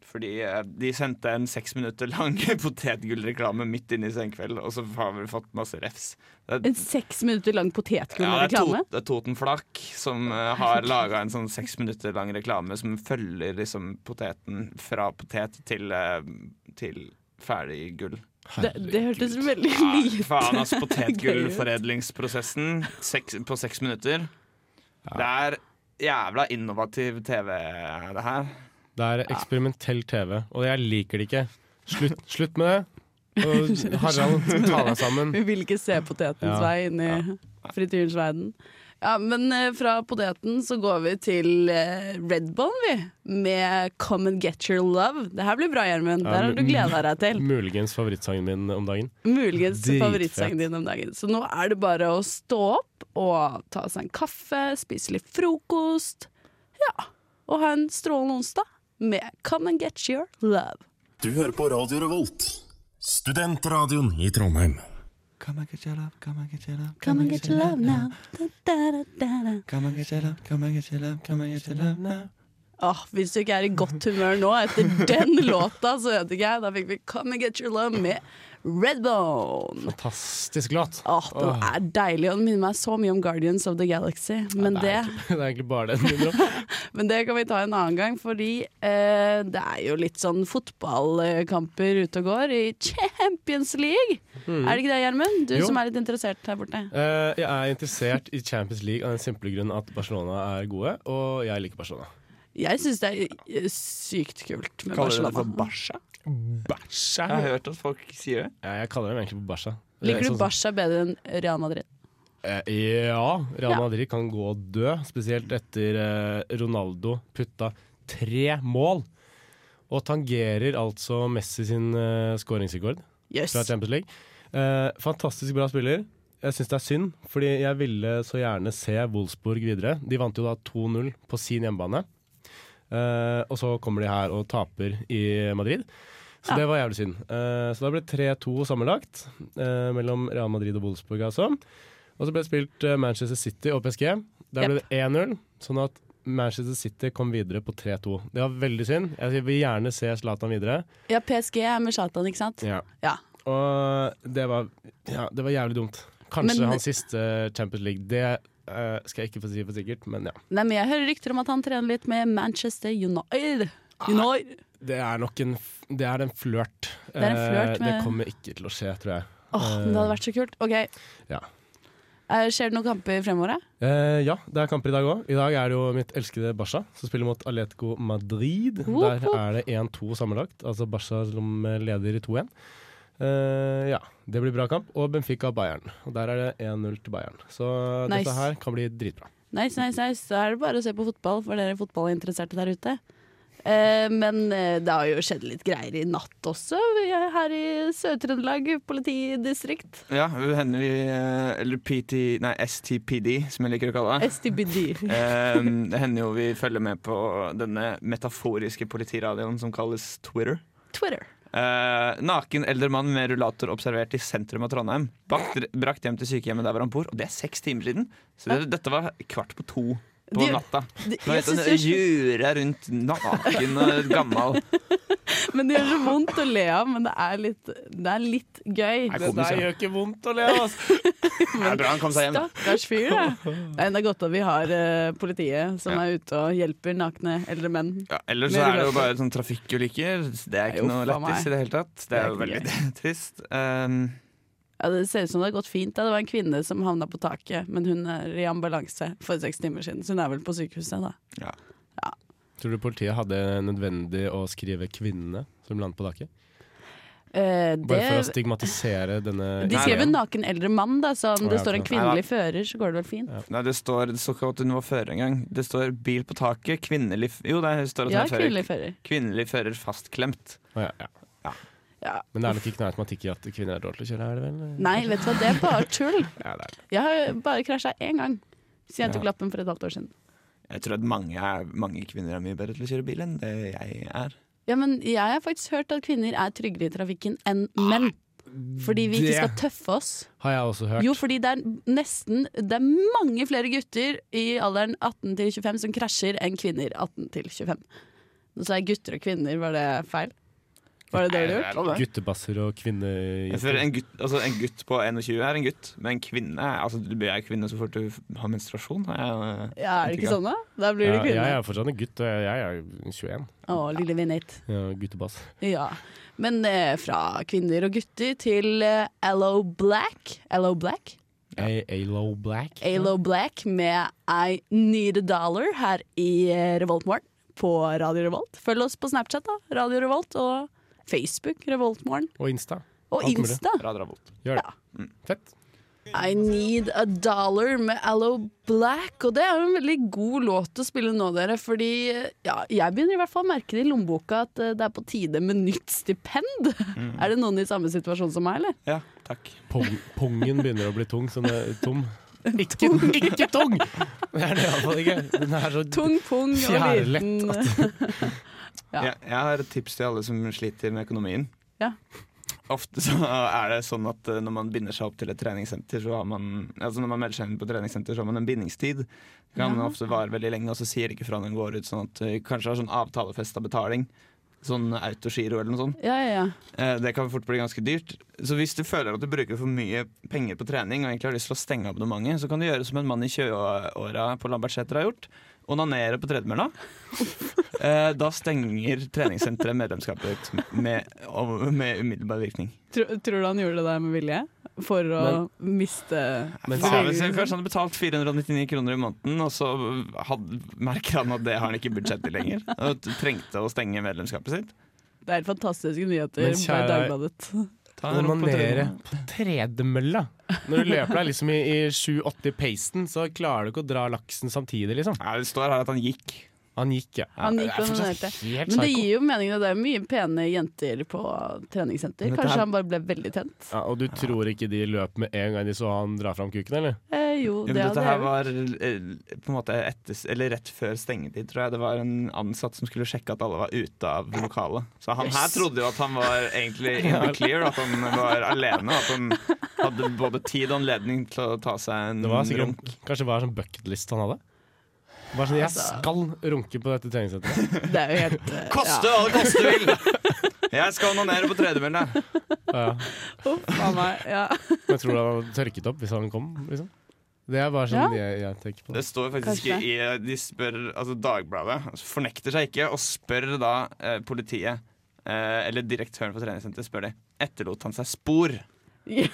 [SPEAKER 4] fordi eh, de sendte en seks minutter lang potetgullreklame midt inne i Senkveld, og så har vi fått masse refs. Det er,
[SPEAKER 2] En seks minutter lang
[SPEAKER 4] ja, det er,
[SPEAKER 2] potetgullreklame?
[SPEAKER 4] tot, det er Toten Flak som eh, har laga en sånn seks minutter lang reklame som følger liksom poteten fra potet til, eh, til ferdig gull.
[SPEAKER 2] Det, det hørtes veldig
[SPEAKER 4] Ja,
[SPEAKER 2] lite
[SPEAKER 4] faen, altså.
[SPEAKER 2] gøy ut.
[SPEAKER 4] Potetgullforedlingsprosessen seks, på seks minutter. Det er jævla innovativ TV, det her.
[SPEAKER 5] Det er eksperimentell TV, og jeg liker det ikke. Slutt, slutt med det. Og Harald, ta deg sammen.
[SPEAKER 2] Vi vil ikke se potetens
[SPEAKER 5] Ja.
[SPEAKER 2] vei inn i frityrens verden. Ja, men eh, fra poteten så går vi til eh, Red Bone, vi. Med Come and Get Your Love. Det her blir bra, Gjermund.
[SPEAKER 5] Ja,
[SPEAKER 2] Der har
[SPEAKER 5] men-
[SPEAKER 2] du gleda deg til.
[SPEAKER 5] Muligens favorittsangen min om dagen.
[SPEAKER 2] Muligens
[SPEAKER 5] Dritfett.
[SPEAKER 2] favorittsangen din om dagen. Så nå er det bare å stå opp og ta seg en kaffe, spise litt frokost. Ja. Og ha en strålende onsdag med Come and Get Your Love.
[SPEAKER 7] Du hører på Radio Revolt, studentradioen i Trondheim.
[SPEAKER 4] Come and get your love, come and get your love,
[SPEAKER 2] Come and get your love now. Da, da, da, da, da.
[SPEAKER 4] come and get your love, come and get your love, come and get your love now.
[SPEAKER 2] Åh, hvis du ikke er i godt humør nå etter den låta, så vet ikke jeg. Da fikk vi Come and Get Your Love med Redbone.
[SPEAKER 5] Fantastisk låt.
[SPEAKER 2] Åh, den er deilig, og den minner meg så mye om Guardians of the Galaxy. Men,
[SPEAKER 5] det,
[SPEAKER 2] det,
[SPEAKER 5] er egentlig, det er egentlig bare den. mindre om.
[SPEAKER 2] men det kan vi ta en annen gang, fordi eh, det er jo litt sånn fotballkamper ute og går i Champions League.
[SPEAKER 4] Mm.
[SPEAKER 2] Er det ikke det, Gjermund? Du
[SPEAKER 5] Jo.
[SPEAKER 2] som er litt interessert her borte.
[SPEAKER 5] Eh, jeg er interessert i Champions League av den simple grunn at Barcelona er gode, og jeg liker Barcelona.
[SPEAKER 2] Jeg syns det er eh, sykt kult med
[SPEAKER 4] Kaller du det for
[SPEAKER 2] Barcelona.
[SPEAKER 4] Barca? Jeg har hørt at folk sier det.
[SPEAKER 5] Ja, jeg kaller dem egentlig for Barca.
[SPEAKER 2] Liker du
[SPEAKER 5] Sånn som-
[SPEAKER 2] Barca bedre enn Real Madrid?
[SPEAKER 5] Eh, ja. Real
[SPEAKER 2] Ja.
[SPEAKER 5] Madrid kan gå og dø, spesielt etter eh, Ronaldo putta tre mål. Og tangerer altså Messi sin eh, skåringsrekord
[SPEAKER 2] Jøss.
[SPEAKER 5] fra Champions League. Eh, fantastisk bra spiller. Jeg syns det er synd, fordi jeg ville så gjerne se Wolfsburg videre. De vant jo da 2-0 på sin hjemmebane. Eh, og så kommer de her og taper i Madrid. Så
[SPEAKER 2] Ja.
[SPEAKER 5] det var jævlig synd. Eh, så da ble det 3-2 sammenlagt eh, mellom Real Madrid og Wolfsburg. Altså. Og så ble det spilt eh, Manchester City og PSG. Der ble
[SPEAKER 2] Jep.
[SPEAKER 5] det 1-0, sånn at Manchester City kom videre på 3-2. Det var veldig synd. Jeg vil gjerne se Zlatan videre.
[SPEAKER 2] Ja, PSG er med Zlatan, ikke sant?
[SPEAKER 5] Ja.
[SPEAKER 2] Ja.
[SPEAKER 5] Og det var, ja, det var jævlig dumt. Kanskje
[SPEAKER 2] Men-
[SPEAKER 5] hans siste Champions League. Det eh, skal jeg ikke få si for sikkert, men ja.
[SPEAKER 2] Nei, men jeg hører rykter om at han trener litt med Manchester United.
[SPEAKER 4] Ah.
[SPEAKER 2] United.
[SPEAKER 5] Det er nok en, f- det er en flørt.
[SPEAKER 2] er en
[SPEAKER 5] Eh,
[SPEAKER 2] flørt med-
[SPEAKER 5] det kommer ikke til å skje, tror jeg.
[SPEAKER 4] Ah.
[SPEAKER 2] Åh, men det hadde vært så kult. Ok,
[SPEAKER 5] Ja.
[SPEAKER 2] Eh, skjer det noen kamper fremover? da?
[SPEAKER 5] Eh, ja, det er kamper i dag òg. I dag er det jo mitt elskede Barca som spiller mot Atletico Madrid.
[SPEAKER 2] Woop,
[SPEAKER 5] Der er det 1-2 sammenlagt. Altså Barca som leder i 2-1. Eh, ja, det blir bra kamp. Og Benfica Bayern. Og der er det 1-0 til Bayern. Så eh,
[SPEAKER 2] Nice.
[SPEAKER 5] dette her kan bli dritbra.
[SPEAKER 2] Nice, nice, nice. Da er det bare å se på fotball for dere fotballinteresserte der ute. Eh, men eh, det har jo skjedd litt greier i natt også, Vi er her i Sør-Trøndelag politidistrikt.
[SPEAKER 4] Ja, det hender vi eh, Eller PT, nei, STPD, som jeg liker å kalle det.
[SPEAKER 2] STBD.
[SPEAKER 4] Eh, det hender jo vi følger med på denne metaforiske politiradioen som kalles Twitter.
[SPEAKER 2] Twitter.
[SPEAKER 4] Eh, naken eldre mann med rullator observert i sentrum av Trondheim. Bakt, brakt hjem til sykehjemmet der hvor han bor, og det er seks timer siden. Så det, dette var kvart på to på
[SPEAKER 2] Du-
[SPEAKER 4] natta.
[SPEAKER 2] Det,
[SPEAKER 4] Nå
[SPEAKER 2] jeg
[SPEAKER 4] vet
[SPEAKER 2] synes
[SPEAKER 4] du,
[SPEAKER 2] det gjør
[SPEAKER 4] Jura rundt naken og gammal.
[SPEAKER 2] så- men det gjør så vondt å le av, men det er litt, det er litt gøy.
[SPEAKER 4] Det der gjør
[SPEAKER 5] ikke vondt å le av, altså.
[SPEAKER 4] Det er bra han kom seg hjem.
[SPEAKER 2] Stakkars fyr, da. Nei, Det er godt at vi har eh, politiet som
[SPEAKER 4] Ja.
[SPEAKER 2] er ute og hjelper nakne eldre menn.
[SPEAKER 4] Ja, ellers så
[SPEAKER 2] Mer
[SPEAKER 4] er det jo
[SPEAKER 2] rullator.
[SPEAKER 4] bare sånn trafikkulykker. Det er
[SPEAKER 2] Nei,
[SPEAKER 4] ikke
[SPEAKER 2] uff,
[SPEAKER 4] noe
[SPEAKER 2] faen meg.
[SPEAKER 4] lættis i det hele tatt. Det er jo
[SPEAKER 2] Det er
[SPEAKER 4] veldig
[SPEAKER 2] ikke
[SPEAKER 4] trist. Um,
[SPEAKER 2] Ja, det ser ut som det har gått fint. Da. Det var en kvinne som havna på taket, men hun er i ambulanse for seks timer siden, så hun er vel på sykehuset, da.
[SPEAKER 5] Tror du politiet hadde nødvendig å skrive 'kvinnene' som landet på taket?
[SPEAKER 2] Eh, det,
[SPEAKER 5] Bare for å stigmatisere denne
[SPEAKER 2] de skrev en naken eldre mann, da, så om
[SPEAKER 5] Å,
[SPEAKER 2] det
[SPEAKER 5] ja,
[SPEAKER 2] står en
[SPEAKER 5] klart.
[SPEAKER 2] kvinnelig fører, så går det vel fint.
[SPEAKER 4] Nei, det står Det står ikke at hun var fører engang. Det står 'bil på taket', kvinnelig f- Jo, det står at hun
[SPEAKER 2] Ja,
[SPEAKER 4] er fører.
[SPEAKER 2] kvinnelig fører.
[SPEAKER 4] Kvinnelig fører fastklemt.
[SPEAKER 5] Å, ja, ja.
[SPEAKER 2] Ja.
[SPEAKER 5] Men det er nok ikke noe automatikk i at kvinner er dårlige til å kjøre, er det vel?
[SPEAKER 2] Nei, vet du hva, det er bare tull.
[SPEAKER 5] Ja, det er det.
[SPEAKER 2] Jeg har bare krasja én gang siden jeg tok
[SPEAKER 4] Ja.
[SPEAKER 2] lappen for et halvt år siden.
[SPEAKER 4] Jeg tror at mange, er, mange kvinner er mye bedre til å kjøre bil enn det jeg er.
[SPEAKER 2] Ja, men jeg har faktisk hørt at kvinner er tryggere i trafikken enn menn. Fordi vi ikke
[SPEAKER 5] det-
[SPEAKER 2] skal tøffe oss.
[SPEAKER 5] Har jeg også hørt.
[SPEAKER 2] Jo, fordi det er nesten Det er mange flere gutter i alderen 18 til 25 som krasjer enn kvinner 18 til 25. Nå sa jeg gutter og kvinner, var det feil? Var det det du gjorde?
[SPEAKER 5] Guttebasser og
[SPEAKER 4] Jeg føler
[SPEAKER 5] kvinnejenter.
[SPEAKER 4] en gutt, altså en gutt på 21 er en gutt, men en kvinne er- altså, Du er kvinne så fort du har menstruasjon. Jeg,
[SPEAKER 2] Ja, er det ikke sånn, da? Da blir det
[SPEAKER 5] Ja, jeg
[SPEAKER 2] kvinner.
[SPEAKER 5] er fortsatt en gutt, og jeg er 21.
[SPEAKER 2] Å, lille Vinnit.
[SPEAKER 5] Ja, guttebass.
[SPEAKER 2] Ja. Men eh, fra kvinner og gutter til eh, Allo Black. Allo Black?
[SPEAKER 5] A- Alo Black.
[SPEAKER 2] Alo Black med I Need a Dollar her i eh, Revoltmorgen på Radio Revolt. Følg oss på Snapchat, da. Radio Revolt og Facebook Revoltmorgen.
[SPEAKER 5] Og Insta.
[SPEAKER 2] Og
[SPEAKER 5] Alt mulig.
[SPEAKER 2] Insta.
[SPEAKER 5] Gjør det. Fett.
[SPEAKER 2] I Need a Dollar med Allo Black. Og det er jo en veldig god låt å spille nå, dere. Fordi ja, jeg begynner i hvert fall å merke det i lommeboka at eh, det er på tide med nytt stipend.
[SPEAKER 5] Mm.
[SPEAKER 2] Er det noen i samme situasjon som meg, eller?
[SPEAKER 4] ja, takk.
[SPEAKER 5] Pong, pongen begynner å bli tung. Sånn eh, tom. Ikke, ikke tung! Det er det iallfall ikke. Den er så
[SPEAKER 2] Tung pung og
[SPEAKER 5] Fjærlett
[SPEAKER 2] liten Ja.
[SPEAKER 4] Jeg, jeg har et tips til alle som sliter med økonomien.
[SPEAKER 2] Ja.
[SPEAKER 4] Ofte så er det sånn at eh, når man binder seg opp til et treningssenter, så har man Altså når man melder seg inn på treningssenter, så har man en bindingstid. Det kan
[SPEAKER 2] Ja.
[SPEAKER 4] ofte vare veldig lenge, og så sier de ikke fra når den går ut. Sånn at eh, kanskje har sånn avtalefesta betaling. Sånn autogiro eller noe sånt.
[SPEAKER 2] Ja, ja, ja.
[SPEAKER 4] Eh, Det kan fort bli ganske dyrt. Så hvis du føler at du bruker for mye penger på trening, og egentlig har lyst til å stenge abonnementet, så kan du gjøre som en mann i 20-åra på Lambertseter har gjort. Onanere på tredemølla. Eh, Da stenger treningssenteret medlemskapet ditt med, og- med umiddelbar virkning.
[SPEAKER 2] Tror, tror du han gjorde det der med vilje? For å miste
[SPEAKER 4] Faen,
[SPEAKER 5] Men så-
[SPEAKER 4] hvis jeg- Kanskje han har betalt 499 kroner i måneden, og så hadde, merker han at det har han ikke budsjett til lenger. Og trengte å stenge medlemskapet sitt.
[SPEAKER 2] Det er fantastiske nyheter
[SPEAKER 5] Men
[SPEAKER 2] på
[SPEAKER 5] kjære-
[SPEAKER 2] Dagbladet.
[SPEAKER 4] Ta en rundt på
[SPEAKER 5] Onanere
[SPEAKER 4] tredemølla.
[SPEAKER 5] på tredemølla. Når du løper deg liksom i, i 7-80-pacen, så klarer du ikke å dra laksen samtidig, liksom.
[SPEAKER 4] Nei, det står her at han gikk.
[SPEAKER 5] Han gikk, ja.
[SPEAKER 2] Han gikk
[SPEAKER 5] Det er
[SPEAKER 2] og
[SPEAKER 5] fortsatt
[SPEAKER 2] onanerte.
[SPEAKER 5] Helt
[SPEAKER 2] Men det
[SPEAKER 5] psyko.
[SPEAKER 2] gir jo mening. at Det er mye pene jenter på treningssenter.
[SPEAKER 5] Men dette
[SPEAKER 2] Kanskje
[SPEAKER 5] her-
[SPEAKER 2] han bare ble veldig tent.
[SPEAKER 5] Ja, og du tror ikke de løp med en gang de så han dra fram kuken, eller?
[SPEAKER 2] Eh, Jo,
[SPEAKER 10] Ja, men
[SPEAKER 2] det
[SPEAKER 10] dette
[SPEAKER 2] hadde
[SPEAKER 10] her
[SPEAKER 2] jeg gjort.
[SPEAKER 10] var eh, på en måte etter, eller rett før stengetid, tror jeg. Det var en ansatt som skulle sjekke at alle var ute av lokalet. Så han her trodde jo at han var egentlig in the clear, at han var alene. og At han hadde både tid og anledning til å ta seg en
[SPEAKER 5] Det var sikkert,
[SPEAKER 10] runk.
[SPEAKER 5] kanskje det var en sånn bucketlist han hadde? Bare sånn, Jeg
[SPEAKER 2] Altså.
[SPEAKER 5] skal runke på dette treningssenteret.
[SPEAKER 2] Det er jo helt eh,
[SPEAKER 10] Koste
[SPEAKER 2] ja.
[SPEAKER 10] hva det koste vil! Jeg skal onanere på tredemølla.
[SPEAKER 5] Ja.
[SPEAKER 2] Uff a meg. Ja.
[SPEAKER 5] Men tror du han hadde tørket opp hvis han kom? Liksom? Det er bare sånn jeg, jeg tenker på.
[SPEAKER 10] Det
[SPEAKER 5] Det.
[SPEAKER 10] står faktisk
[SPEAKER 2] Kanskje.
[SPEAKER 10] i De spør, altså Dagbladet fornekter seg ikke og spør da eh, politiet, eh, eller direktøren for treningssenteret, spør de Etterlot han seg spor.
[SPEAKER 2] Ja.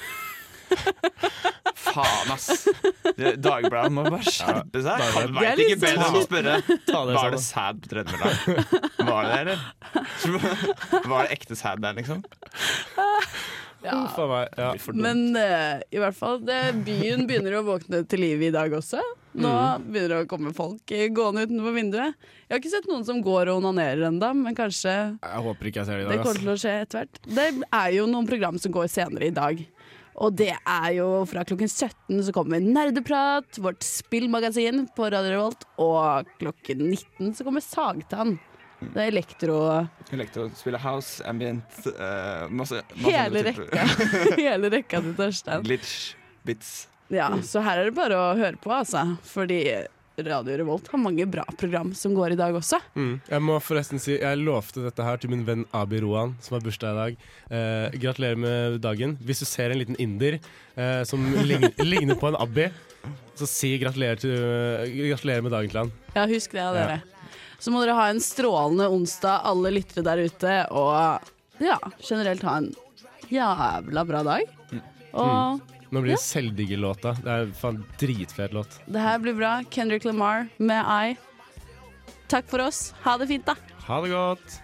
[SPEAKER 10] Faen, ass! Det- Dagbladet må bare skjerpe seg.
[SPEAKER 2] Det er
[SPEAKER 10] Han veit ikke
[SPEAKER 2] litt
[SPEAKER 10] bedre enn å
[SPEAKER 2] sånn-
[SPEAKER 10] spørre
[SPEAKER 5] Ta det
[SPEAKER 10] Var det
[SPEAKER 5] sånn,
[SPEAKER 10] sæd på tredemølla. Var det det, eller? Var det ekte sæd der, liksom?
[SPEAKER 5] da. Uff a meg. Ja.
[SPEAKER 2] Men eh, i hvert fall, det, byen begynner å våkne til liv i dag også. Nå begynner det å komme folk eh, gående utenfor vinduet. Jeg har ikke sett noen som går og onanerer ennå, men kanskje
[SPEAKER 5] Jeg håper ikke jeg ser det i
[SPEAKER 2] det
[SPEAKER 5] dag.
[SPEAKER 2] kommer
[SPEAKER 5] ass.
[SPEAKER 2] til å skje etter hvert. Det er jo noen program som går senere i dag. Og det er jo fra klokken 17 så kommer Nerdeprat, vårt spillmagasin på Radio Revolt, og klokken 19 så kommer Sagtann. Det er elektro...
[SPEAKER 10] Elektro, spille house, ambient eh, masse, masse
[SPEAKER 2] Hele
[SPEAKER 10] andre typer-
[SPEAKER 2] rekka. Hele rekka til Torstein.
[SPEAKER 10] Glitch, bits.
[SPEAKER 2] Ja, så her er det bare å høre på, altså. Fordi Radio Revolt har mange bra program som går i dag også.
[SPEAKER 5] Mm. Jeg må forresten si Jeg lovte dette her til min venn Abi Rohan, som har bursdag i dag. Eh, gratulerer med dagen. Hvis du ser en liten inder eh, som lign, ligner på en Abi, så si gratulerer, til, gratulerer med dagen til han.
[SPEAKER 2] Ja, husk det, dere. Så må dere ha en strålende onsdag, alle lyttere der ute, og ja, generelt ha en jævla bra dag. Og
[SPEAKER 5] Nå blir det selvdiggerlåta. Det er en faen dritfet låt.
[SPEAKER 2] det her blir bra. Kendrick Lamar med I. Takk for oss. Ha det fint, da.
[SPEAKER 5] Ha det godt.